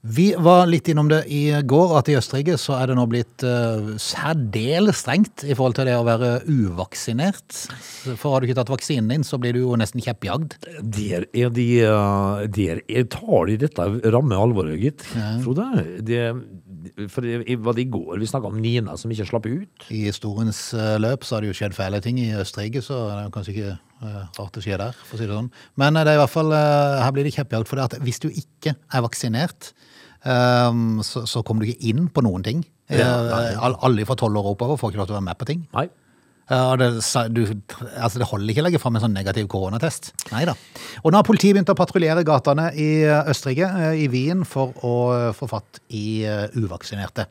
[SPEAKER 1] Vi var litt innom det i går, at i Østerrike så er det nå blitt eh, særdeles strengt i forhold til det å være uvaksinert. For har du ikke tatt vaksinen din, så blir du jo nesten kjeppjagd.
[SPEAKER 3] Der er de eh, Der er, tar de dette ramme alvoret, gitt. Frode. Det, for det var det i går vi snakka om Nina som ikke slapp ut.
[SPEAKER 1] I historiens eh, løp så har det jo skjedd fæle ting i Østerrike, så det er jo kanskje ikke eh, rart det skjer der, for å si det sånn. Men eh, det er i hvert fall, eh, her blir det kjeppjakt for det at hvis du ikke er vaksinert, eh, så, så kommer du ikke inn på noen ting. Eh, all- alle fra 12 år og oppover får ikke lov til å være med på ting.
[SPEAKER 3] Nei.
[SPEAKER 1] Ja, og det, sa- du, altså det holder ikke å legge fram en sånn negativ koronatest. Nei da. Og nå har politiet begynt å patruljere gatene i Østerrike, eh, i Wien, for å eh, få fatt i eh, uvaksinerte.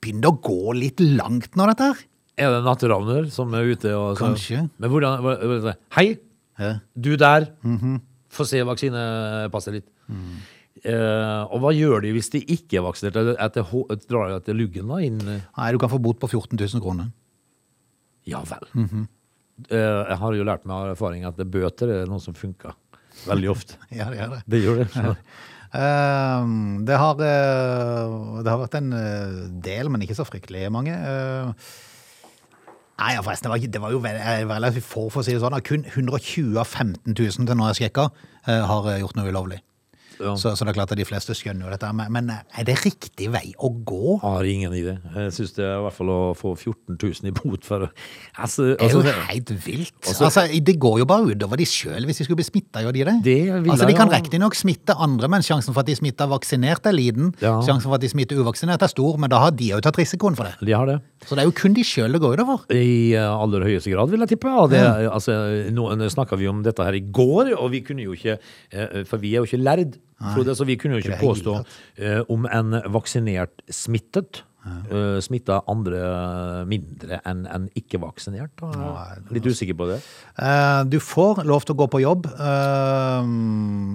[SPEAKER 1] Begynner å gå litt langt nå, dette her.
[SPEAKER 3] Er det natteravner som er ute og så-
[SPEAKER 1] Kanskje.
[SPEAKER 3] Men hvordan hva- hva- Hei,
[SPEAKER 1] Ja.
[SPEAKER 3] du der.
[SPEAKER 1] Mhm.
[SPEAKER 3] Få se vaksinepasset ditt. Eh, og hva gjør de hvis de ikke er vaksinert? Er det- At det ho- drar de til luggen da inn eh?
[SPEAKER 1] Nei, du kan få bot på 14 000 kroner.
[SPEAKER 3] Ja vel.
[SPEAKER 1] Mhm.
[SPEAKER 3] Eh, jeg har jo lært meg av erfaring at det bøter er noe som funker veldig ofte.
[SPEAKER 1] Ja, det gjør <laughs> det.
[SPEAKER 3] Det gjør det.
[SPEAKER 1] Ehm, det, har, eh, det har vært en eh, del, men ikke så fryktelig mange. Eh, nei, ja, forresten, det var, ikke- det var jo vel- eh, relativt få, for å si det sånn. at Kun 120 av 15 000 til nå jeg sjekka, eh, har eh, gjort noe ulovlig.
[SPEAKER 3] Ja.
[SPEAKER 1] Så, så det er klart at de fleste skjønner jo dette. Men, men er det riktig vei å gå?
[SPEAKER 3] Har ingen idé. Jeg syns det er i hvert fall å få 14 000 i bot for altså,
[SPEAKER 1] Det er jo
[SPEAKER 3] altså,
[SPEAKER 1] helt vilt. Altså, det går jo bare utover de sjøl hvis de skulle bli smitta, gjør de det?
[SPEAKER 3] Det vil
[SPEAKER 1] altså,
[SPEAKER 3] jeg
[SPEAKER 1] de kan
[SPEAKER 3] jo.
[SPEAKER 1] riktignok smitte andre, men sjansen for at de smitter vaksinerte er liten.
[SPEAKER 3] Ja.
[SPEAKER 1] Sjansen for at de smitter uvaksinerte er stor, men da har de òg tatt risikoen for det.
[SPEAKER 3] De har det.
[SPEAKER 1] Så det er jo kun de sjøl det går utover.
[SPEAKER 3] I eh, aller høyeste grad, vil jeg tippe. Og det, altså, nå nå snakket vi om dette her i går, og vi kunne jo ikke eh, For vi er jo ikke lærd, Frode, så vi kunne jo
[SPEAKER 1] det
[SPEAKER 3] ikke
[SPEAKER 1] er
[SPEAKER 3] påstå eh, om en vaksinert smittet. Uh, smitta andre mindre enn en ikke-vaksinert. da. Litt usikker på det.
[SPEAKER 1] Eh, Du får lov til å gå på jobb, eh,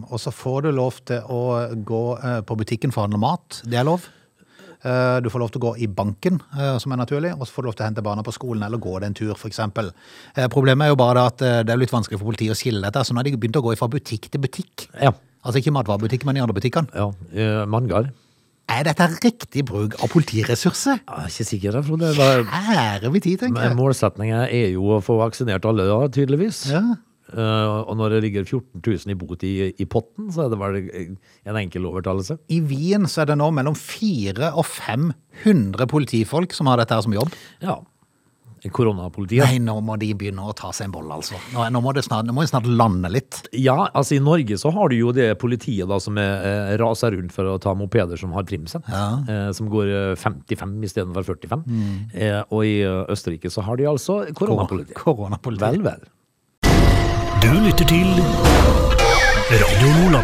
[SPEAKER 1] og så får du lov til å gå eh, på butikken for å handle mat. Det er lov. Eh, Du får lov til å gå i banken, eh, som er naturlig, og så får du lov til å hente barna på skolen eller gå det en tur, f.eks. Problemet er jo bare det at eh, det er litt vanskelig for politiet å skille dette, så nå har de begynt å gå fra butikk til butikk.
[SPEAKER 3] Ja.
[SPEAKER 1] Altså ikke matvarebutikken, men de andre butikkene.
[SPEAKER 3] ja. eh, Mangar.
[SPEAKER 1] Er dette riktig bruk av politiressurser?
[SPEAKER 3] Jeg er ikke sikker, jeg, Frode. Hva-
[SPEAKER 1] Ære vi tid, tenker
[SPEAKER 3] Men
[SPEAKER 1] jeg.
[SPEAKER 3] Målsetningen er jo å få vaksinert alle, da, tydeligvis.
[SPEAKER 1] Ja.
[SPEAKER 3] Eh, og når det ligger 14 000 i bot i, i potten, så er det vel en enkel overtalelse.
[SPEAKER 1] I Wien så er det nå mellom 400 og 500 politifolk som har dette her som jobb.
[SPEAKER 3] Ja. Koronapolitiet.
[SPEAKER 1] Nei, nå må de begynne å ta seg en bolle, altså. Nå, nå, må, det snart, nå må de snart lande litt.
[SPEAKER 3] Ja, altså i Norge så har du jo det politiet da som er, eh, raser rundt for å ta mopeder som har trimsett. Eh, som går eh, 55 istedenfor 45. Eh, og i eh, Østerrike så har de altså koronapoliti.
[SPEAKER 1] Koronapoliti.
[SPEAKER 3] Vel, vel.
[SPEAKER 2] Du lytter til Radio Lola.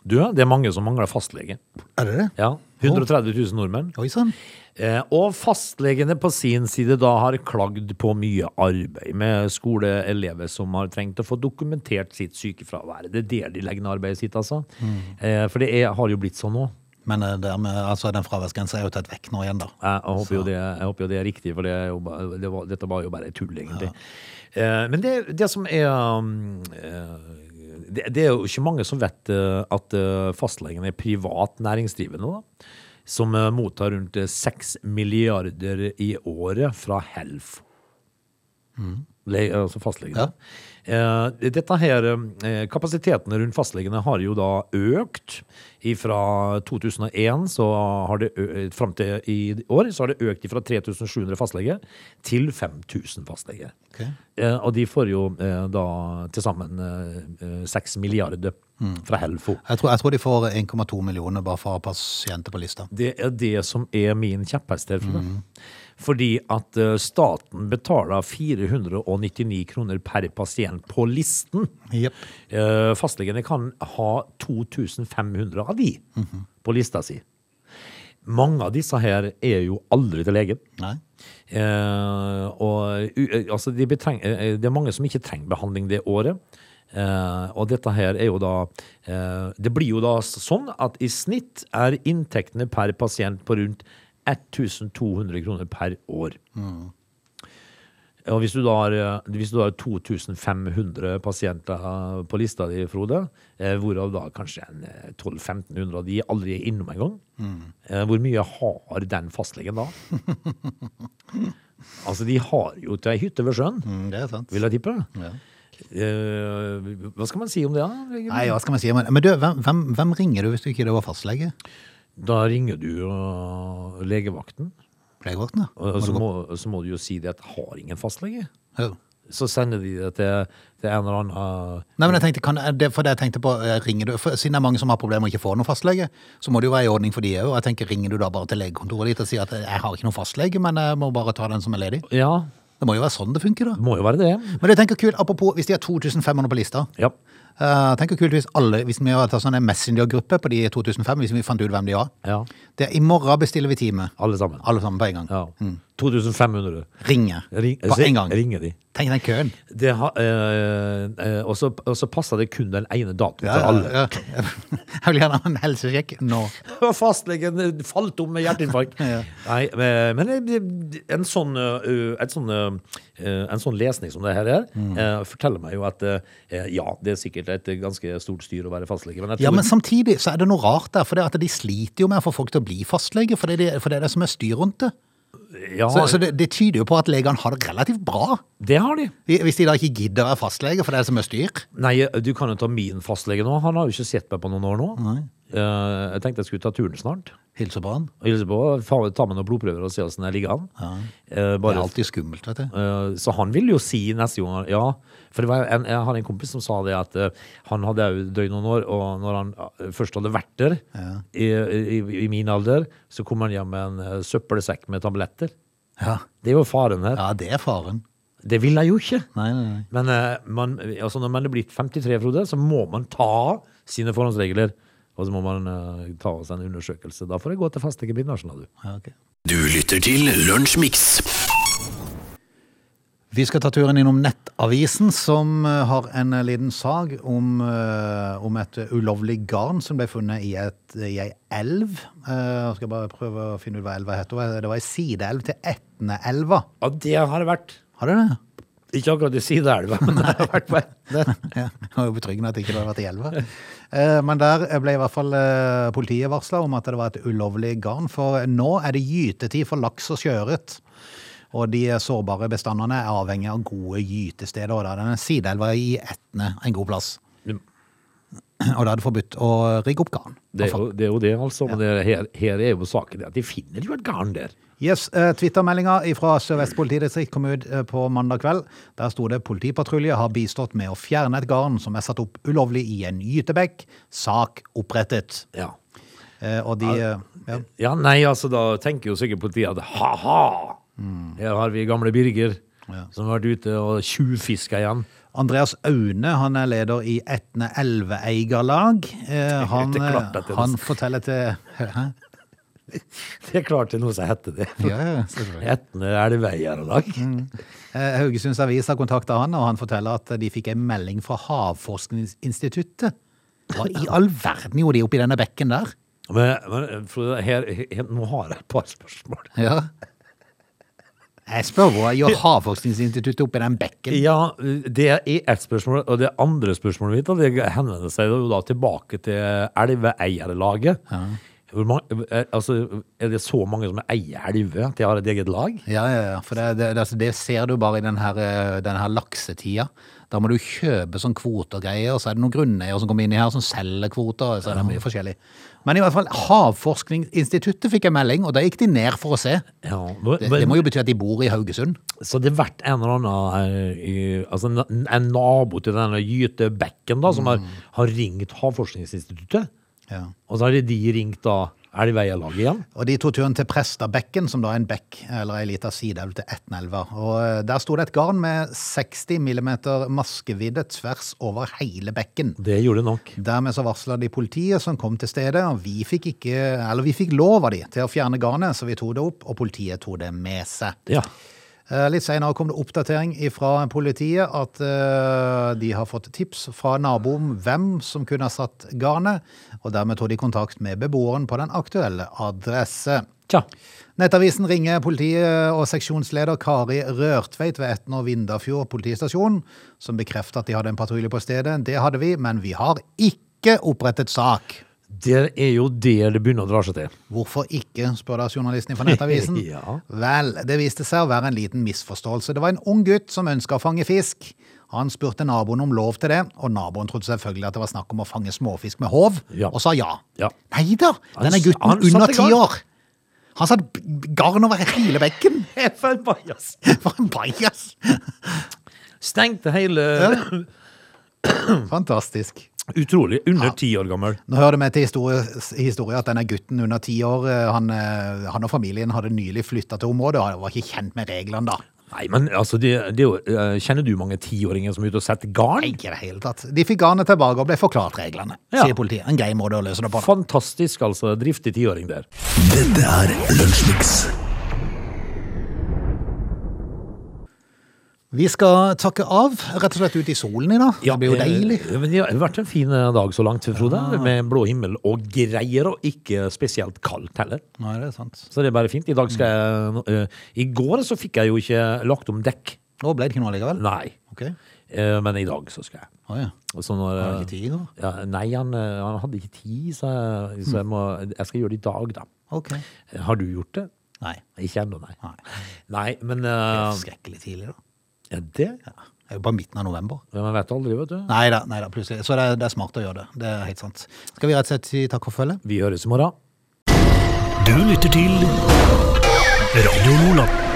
[SPEAKER 3] Du, det er mange som mangler fastlege.
[SPEAKER 1] Er det det?
[SPEAKER 3] Ja, 130 000 nordmenn.
[SPEAKER 1] Oi sånn. sann.
[SPEAKER 3] Eh, og fastlegene på sin side da har klagd på mye arbeid med skoleelever som har trengt å få dokumentert sitt sykefravær. Det er der de legger ned arbeidet sitt, altså. Eh, for det er, har jo blitt sånn nå.
[SPEAKER 1] Men eh, dermed, altså, den fraværsgrensa er jo tatt vekk nå igjen, da.
[SPEAKER 3] Jeg, jeg, håper jo det, jeg håper jo det er riktig, for det er jo, ba- det var, dette var jo bare tull, egentlig. Eh, men det, det som er um, eh, det, det er jo ikke mange som vet eh, at eh, fastlegen er privat næringsdrivende, da. Som eh, mottar rundt eh, 6 milliarder i året fra Helfo. Le, altså fastlegene. Eh, dette her, eh, kapasiteten rundt fastlegene har jo da økt. Fra 2001 så har det ø- fram til i år så har det økt fra 3700 fastleger til 5000 fastleger.
[SPEAKER 1] Ok.
[SPEAKER 3] Eh, og de får jo eh, da til sammen eh, eh, 6 milliarder fra Helfo.
[SPEAKER 1] Jeg tror, jeg tror de får 1,2 millioner bare for pasienter på lista.
[SPEAKER 3] Det er det som er min kjepphest herfra. Fordi at eh, staten betaler 499 kroner per pasient på listen.
[SPEAKER 1] Jep.
[SPEAKER 3] Eh, Fastlegene kan ha 2500 av de på lista si. Mange av disse her er jo aldri til legen.
[SPEAKER 1] Nei.
[SPEAKER 3] Eh, og u- eh, altså, de betreng, eh, eh, det er mange som ikke trenger behandling det året. Eh, og dette her er jo da eh, Det blir jo da s- sånn at i snitt er inntektene per pasient på rundt 1200 kroner per år. Og hvis du da har, eh, hvis du da har 2500 pasienter eh, på lista di, Frode, eh, hvorav da kanskje en, eh, 1200-1500 av de aldri er innom engang, eh, hvor mye har den fastlegen da? Altså, de har jo til ei hytte ved sjøen,
[SPEAKER 1] Mm, det er sant.
[SPEAKER 3] vil jeg tippe.
[SPEAKER 1] Ja.
[SPEAKER 3] Eh, hva skal man si om det, da? egentlig?
[SPEAKER 1] Nei, hva skal man si? Men, men du, hvem, hvem, hvem ringer du hvis du ikke er over fastlege?
[SPEAKER 3] Da ringer du jo legevakten,
[SPEAKER 1] Legevakten, da?
[SPEAKER 3] og
[SPEAKER 1] Må
[SPEAKER 3] så
[SPEAKER 1] du gå-
[SPEAKER 3] må, så må du jo si det at har ingen fastlege.
[SPEAKER 1] Ja.
[SPEAKER 3] Så sender de det til, til en eller annen
[SPEAKER 1] Nei, men jeg tenkte, kan, er det, for det jeg tenkte på, eh, ringer du, for Siden det er mange som har problemer med å ikke få noen fastlege, så må det jo være i ordning for de òg. Jeg tenker, ringer du da bare til legekontoret ditt og sier at eh, jeg har ikke noen fastlege, men jeg må bare ta den som er ledig?
[SPEAKER 3] Ja,
[SPEAKER 1] Det må jo være sånn det funker, da.
[SPEAKER 3] må jo være det.
[SPEAKER 1] Men jeg tenker kult, apropos, hvis de har 2500 på lista
[SPEAKER 3] Ja.
[SPEAKER 1] eh, tenker kult hvis alle, hvis vi hadde tatt sånn en Messenger-gruppe på de 2500, hvis vi fant ut hvem de var
[SPEAKER 3] ja.
[SPEAKER 1] Det er i morgen bestiller vi time,
[SPEAKER 3] Alle sammen.
[SPEAKER 1] alle sammen på en gang.
[SPEAKER 3] Ja. 2500.
[SPEAKER 1] Ringer.
[SPEAKER 3] Ring,
[SPEAKER 1] Mm. på en gang.
[SPEAKER 3] Ringer de.
[SPEAKER 1] Tenk den køen.
[SPEAKER 3] Det har- eh, eh, og så og så passer det kun den ene datoen for alle.
[SPEAKER 1] Ja, <laughs> ja. Jeg vil gjerne ha en helsesjekk nå.
[SPEAKER 3] Og <laughs> fastlegen falt om med
[SPEAKER 1] <laughs>
[SPEAKER 3] hjerteinfarkt.
[SPEAKER 1] Ja.
[SPEAKER 3] Nei, eh, men men det- en sånn, ø, et sånn, ø, en sånn lesning som det her er,
[SPEAKER 1] Mm.
[SPEAKER 3] eh, forteller meg jo at eh, ja, det er sikkert et ganske stort styr å være fastlege, men jeg tror
[SPEAKER 1] Ja, men samtidig så er det noe rart der, for det at de sliter jo med å få folk til å bli fastlege, for det er det, for det, er det som er styr rundt det.
[SPEAKER 3] ja,
[SPEAKER 1] Så, så det, det tyder jo på at legene har det relativt bra,
[SPEAKER 3] det har de.
[SPEAKER 1] hvis de da ikke gidder å være fastlege, for det er det som er styr.
[SPEAKER 3] Nei, eh, du kan jo ta min fastlege nå. Han har jo ikke sett meg på noen år nå. Eh, jeg tenkte jeg skulle ta turen snart.
[SPEAKER 1] Hilser på han.
[SPEAKER 3] Og hilse på, fa- ta med noen blodprøver og se åssen jeg ligger an. Eh,
[SPEAKER 1] Det
[SPEAKER 3] bare
[SPEAKER 1] er alltid skummelt, vet du.
[SPEAKER 3] Eh, Så han vil jo si neste gang Ja, for det var en, jeg har en kompis som sa det at eh, han hadde jo dødd noen år, og når han eh, først hadde vært der, i, i, i min alder, så kom han hjem med en eh, søppelsekk med tabletter.
[SPEAKER 1] Ja,
[SPEAKER 3] Det er jo faren her.
[SPEAKER 1] ja det er faren.
[SPEAKER 3] Det vil jeg jo ikke.
[SPEAKER 1] Nei, nei, nei.
[SPEAKER 3] Men eh, man, altså når man er blitt 53, Frode, så må man ta sine forhåndsregler. Og så må man eh, ta oss en undersøkelse. Da får jeg gå til fastlege Bindersen, da, du.
[SPEAKER 1] Ja, ok.
[SPEAKER 2] Du lytter til Lunsjmix.
[SPEAKER 1] Vi skal ta turen innom Nettavisen, som eh, har en eh, liten sag om, eh, om et eh, ulovlig garn som ble funnet i, et, i ei elv. Eh, Jeg skal bare prøve å finne ut hva elva heter. Det var ei sideelv til Etneelva.
[SPEAKER 3] Ja, det har det vært.
[SPEAKER 1] Har du det?
[SPEAKER 3] Ikke akkurat i sideelva, men det har vært på
[SPEAKER 1] Ja, <laughs> det var jo betryggende at det ikke hadde vært i elva. Eh, Men der ble i hvert fall eh, politiet varsla om at det var et ulovlig garn, for nå er det gytetid for laks og sjøørret. Og de sårbare bestandene er avhengig av gode gytesteder. Og da er denne sideelva i Etne en god plass. Og da er det forbudt å rigge opp garn.
[SPEAKER 3] Det er, jo, det er jo det, altså. Men det, her, her er jo saken det at de finner jo et garn der.
[SPEAKER 1] Yes, eh, Twittermeldinga fra Sør-Vest politidistrikt kom ut eh, på mandag kveld. Der sto det politipatrulje har bistått med å fjerne et garn som er satt opp ulovlig i en gytebekk. Sak opprettet.
[SPEAKER 3] Ja.
[SPEAKER 1] Eh, og de eh, ja.
[SPEAKER 3] ja, nei, altså da tenker jo sikkert politiet at
[SPEAKER 1] Mm.
[SPEAKER 3] ha-ha! Her har vi gamle Birger som har vært ute og tjuvfiska igjen. <laughs>
[SPEAKER 1] Andreas Aune han er leder i Etne Elveeigarlag. Eh, Han,
[SPEAKER 3] Det er klart at det er
[SPEAKER 1] han
[SPEAKER 3] det.
[SPEAKER 1] forteller til Hæ?
[SPEAKER 3] Det er klart det er noe som heter det.
[SPEAKER 1] Ja, ja, selvfølgelig.
[SPEAKER 3] Etne elveeierlag.
[SPEAKER 1] Eh, Haugesunds Avis har kontakta han, og han forteller at de fikk en melding fra Havforskningsinstituttet. Hva i all verden gjorde de oppi denne bekken der?
[SPEAKER 3] Men, men Frode, her, her, nå har jeg et par spørsmål.
[SPEAKER 1] Ja. Jeg spør hva gjør Havforskningsinstituttet oppi den bekken?
[SPEAKER 3] Ja, det er ett spørsmål. Og det andre spørsmålet mitt da, det henvender seg jo da tilbake til elveeierlaget. Hvor mange, eh, altså, er det så mange som eier elver at de har et eget lag?
[SPEAKER 1] Ja, ja, ja. For det, det, det, altså, det ser du bare i den her, eh, den her laksetida. Da må du kjøpe sånn kvote og greier, og så er det noen grunneiere som kommer inn i her som selger kvoter. og Så er det mye forskjellig. Men i hvert fall, Havforskningsinstituttet fikk en melding, og da gikk de ned for å se.
[SPEAKER 3] Ja,
[SPEAKER 1] Det, det må jo bety at de bor i Haugesund.
[SPEAKER 3] Så det har vært en eller annen her i, altså en, en nabo til denne gytebekken da, som har, har ringt Havforskningsinstituttet.
[SPEAKER 1] Ja.
[SPEAKER 3] Og så har de ringt da Elveia-laget igjen.
[SPEAKER 1] Og de tok turen til Prestabekken, som da er en bekk, eller ei lita sideelv til Etnelva. Og eh, der sto det et garn med 60 millimeter maskevidde tvers over hele bekken.
[SPEAKER 3] Det gjorde det nok.
[SPEAKER 1] Dermed så varsla de politiet som kom til stedet, og vi fikk, ikke, eller vi fikk lov av de til å fjerne garnet, så vi tok det opp, og politiet tok det med seg.
[SPEAKER 3] Ja.
[SPEAKER 1] Eh, Litt senere kom det oppdatering fra politiet at eh, de har fått tips fra naboen hvem som kunne ha satt garnet, og dermed tok de kontakt med beboeren på den aktuelle adresse.
[SPEAKER 3] Tja.
[SPEAKER 1] Nettavisen ringer politiet og seksjonsleder Kari Rørtveit ved Etne og Vindafjord politistasjon, som bekrefter at de hadde en patrulje på stedet. Det hadde vi, men vi har ikke opprettet sak.
[SPEAKER 3] Det er jo der det begynner å dra seg til.
[SPEAKER 1] Hvorfor ikke, spør da journalisten fra Nettavisen.
[SPEAKER 3] <laughs> Ja.
[SPEAKER 1] Vel, det viste seg å være en liten misforståelse. Det var en ung gutt som ønska å fange fisk. Han spurte naboen om lov til det, og naboen trodde selvfølgelig at det var snakk om å fange småfisk med håv,
[SPEAKER 3] Ja.
[SPEAKER 1] og sa ja.
[SPEAKER 3] Ja.
[SPEAKER 1] Nei da,
[SPEAKER 3] Han
[SPEAKER 1] denne
[SPEAKER 3] s-
[SPEAKER 1] gutten
[SPEAKER 3] han satte
[SPEAKER 1] under ti
[SPEAKER 3] garn.
[SPEAKER 1] år. Han satt b- garn over hele bekken.
[SPEAKER 3] For en bajas.
[SPEAKER 1] <laughs> For en bajas!
[SPEAKER 3] Stengte hele
[SPEAKER 1] Mm. Fantastisk.
[SPEAKER 3] Utrolig. Under ti år gammel.
[SPEAKER 1] Nå hører det med til historie, historie at denne gutten under ti år, eh, han, eh, han og familien hadde nylig flytta til området, og han var ikke kjent med reglene da.
[SPEAKER 3] Nei, men altså, det, det er jo, eh, kjenner du mange tiåringer som er ute og setter garn?
[SPEAKER 1] Ikke i det hele tatt. De fikk garnet tilbake og ble forklart reglene,
[SPEAKER 3] Ja.
[SPEAKER 1] sier politiet. En grei måte å løse det på. da.
[SPEAKER 3] Fantastisk, altså. Driftig tiåring der.
[SPEAKER 2] Dette er Lunsjmix.
[SPEAKER 1] Vi skal takke av, rett og slett ut i solen i dag.
[SPEAKER 3] Ja,
[SPEAKER 1] det blir jo
[SPEAKER 3] eh,
[SPEAKER 1] deilig.
[SPEAKER 3] ja, men Det har vært en fin eh, dag så langt, Frode. Med blå himmel og greier, og ikke spesielt kaldt heller.
[SPEAKER 1] Nei, det er sant.
[SPEAKER 3] Så det er bare fint. I dag skal jeg eh, I går så fikk jeg jo ikke lagt om dekk.
[SPEAKER 1] Nå ble det ikke noe likevel.
[SPEAKER 3] Nei.
[SPEAKER 1] Ok.
[SPEAKER 3] Eh, Men i dag så skal jeg.
[SPEAKER 1] Å ja.
[SPEAKER 3] Og Så når, eh,
[SPEAKER 1] Har du ikke tid i går?
[SPEAKER 3] Ja, nei, han, eh, han hadde ikke tid, så, jeg, så jeg,
[SPEAKER 1] Mm.
[SPEAKER 3] må, jeg skal gjøre det i dag, da.
[SPEAKER 1] Ok.
[SPEAKER 3] Har du gjort det?
[SPEAKER 1] Nei.
[SPEAKER 3] Ikke ennå, nei.
[SPEAKER 1] Nei.
[SPEAKER 3] Nei, men eh,
[SPEAKER 1] Skrekkelig tidlig, da.
[SPEAKER 3] ja, Det
[SPEAKER 1] Det er jo bare midten av november.
[SPEAKER 3] Men Man vet aldri, vet du.
[SPEAKER 1] Nei da, nei da, plutselig. Så det er, det er smart å gjøre det. Det er helt sant. Skal vi rett og slett si takk og følge?
[SPEAKER 3] Vi høres i morgen.
[SPEAKER 2] Du lytter til Radio Nordland.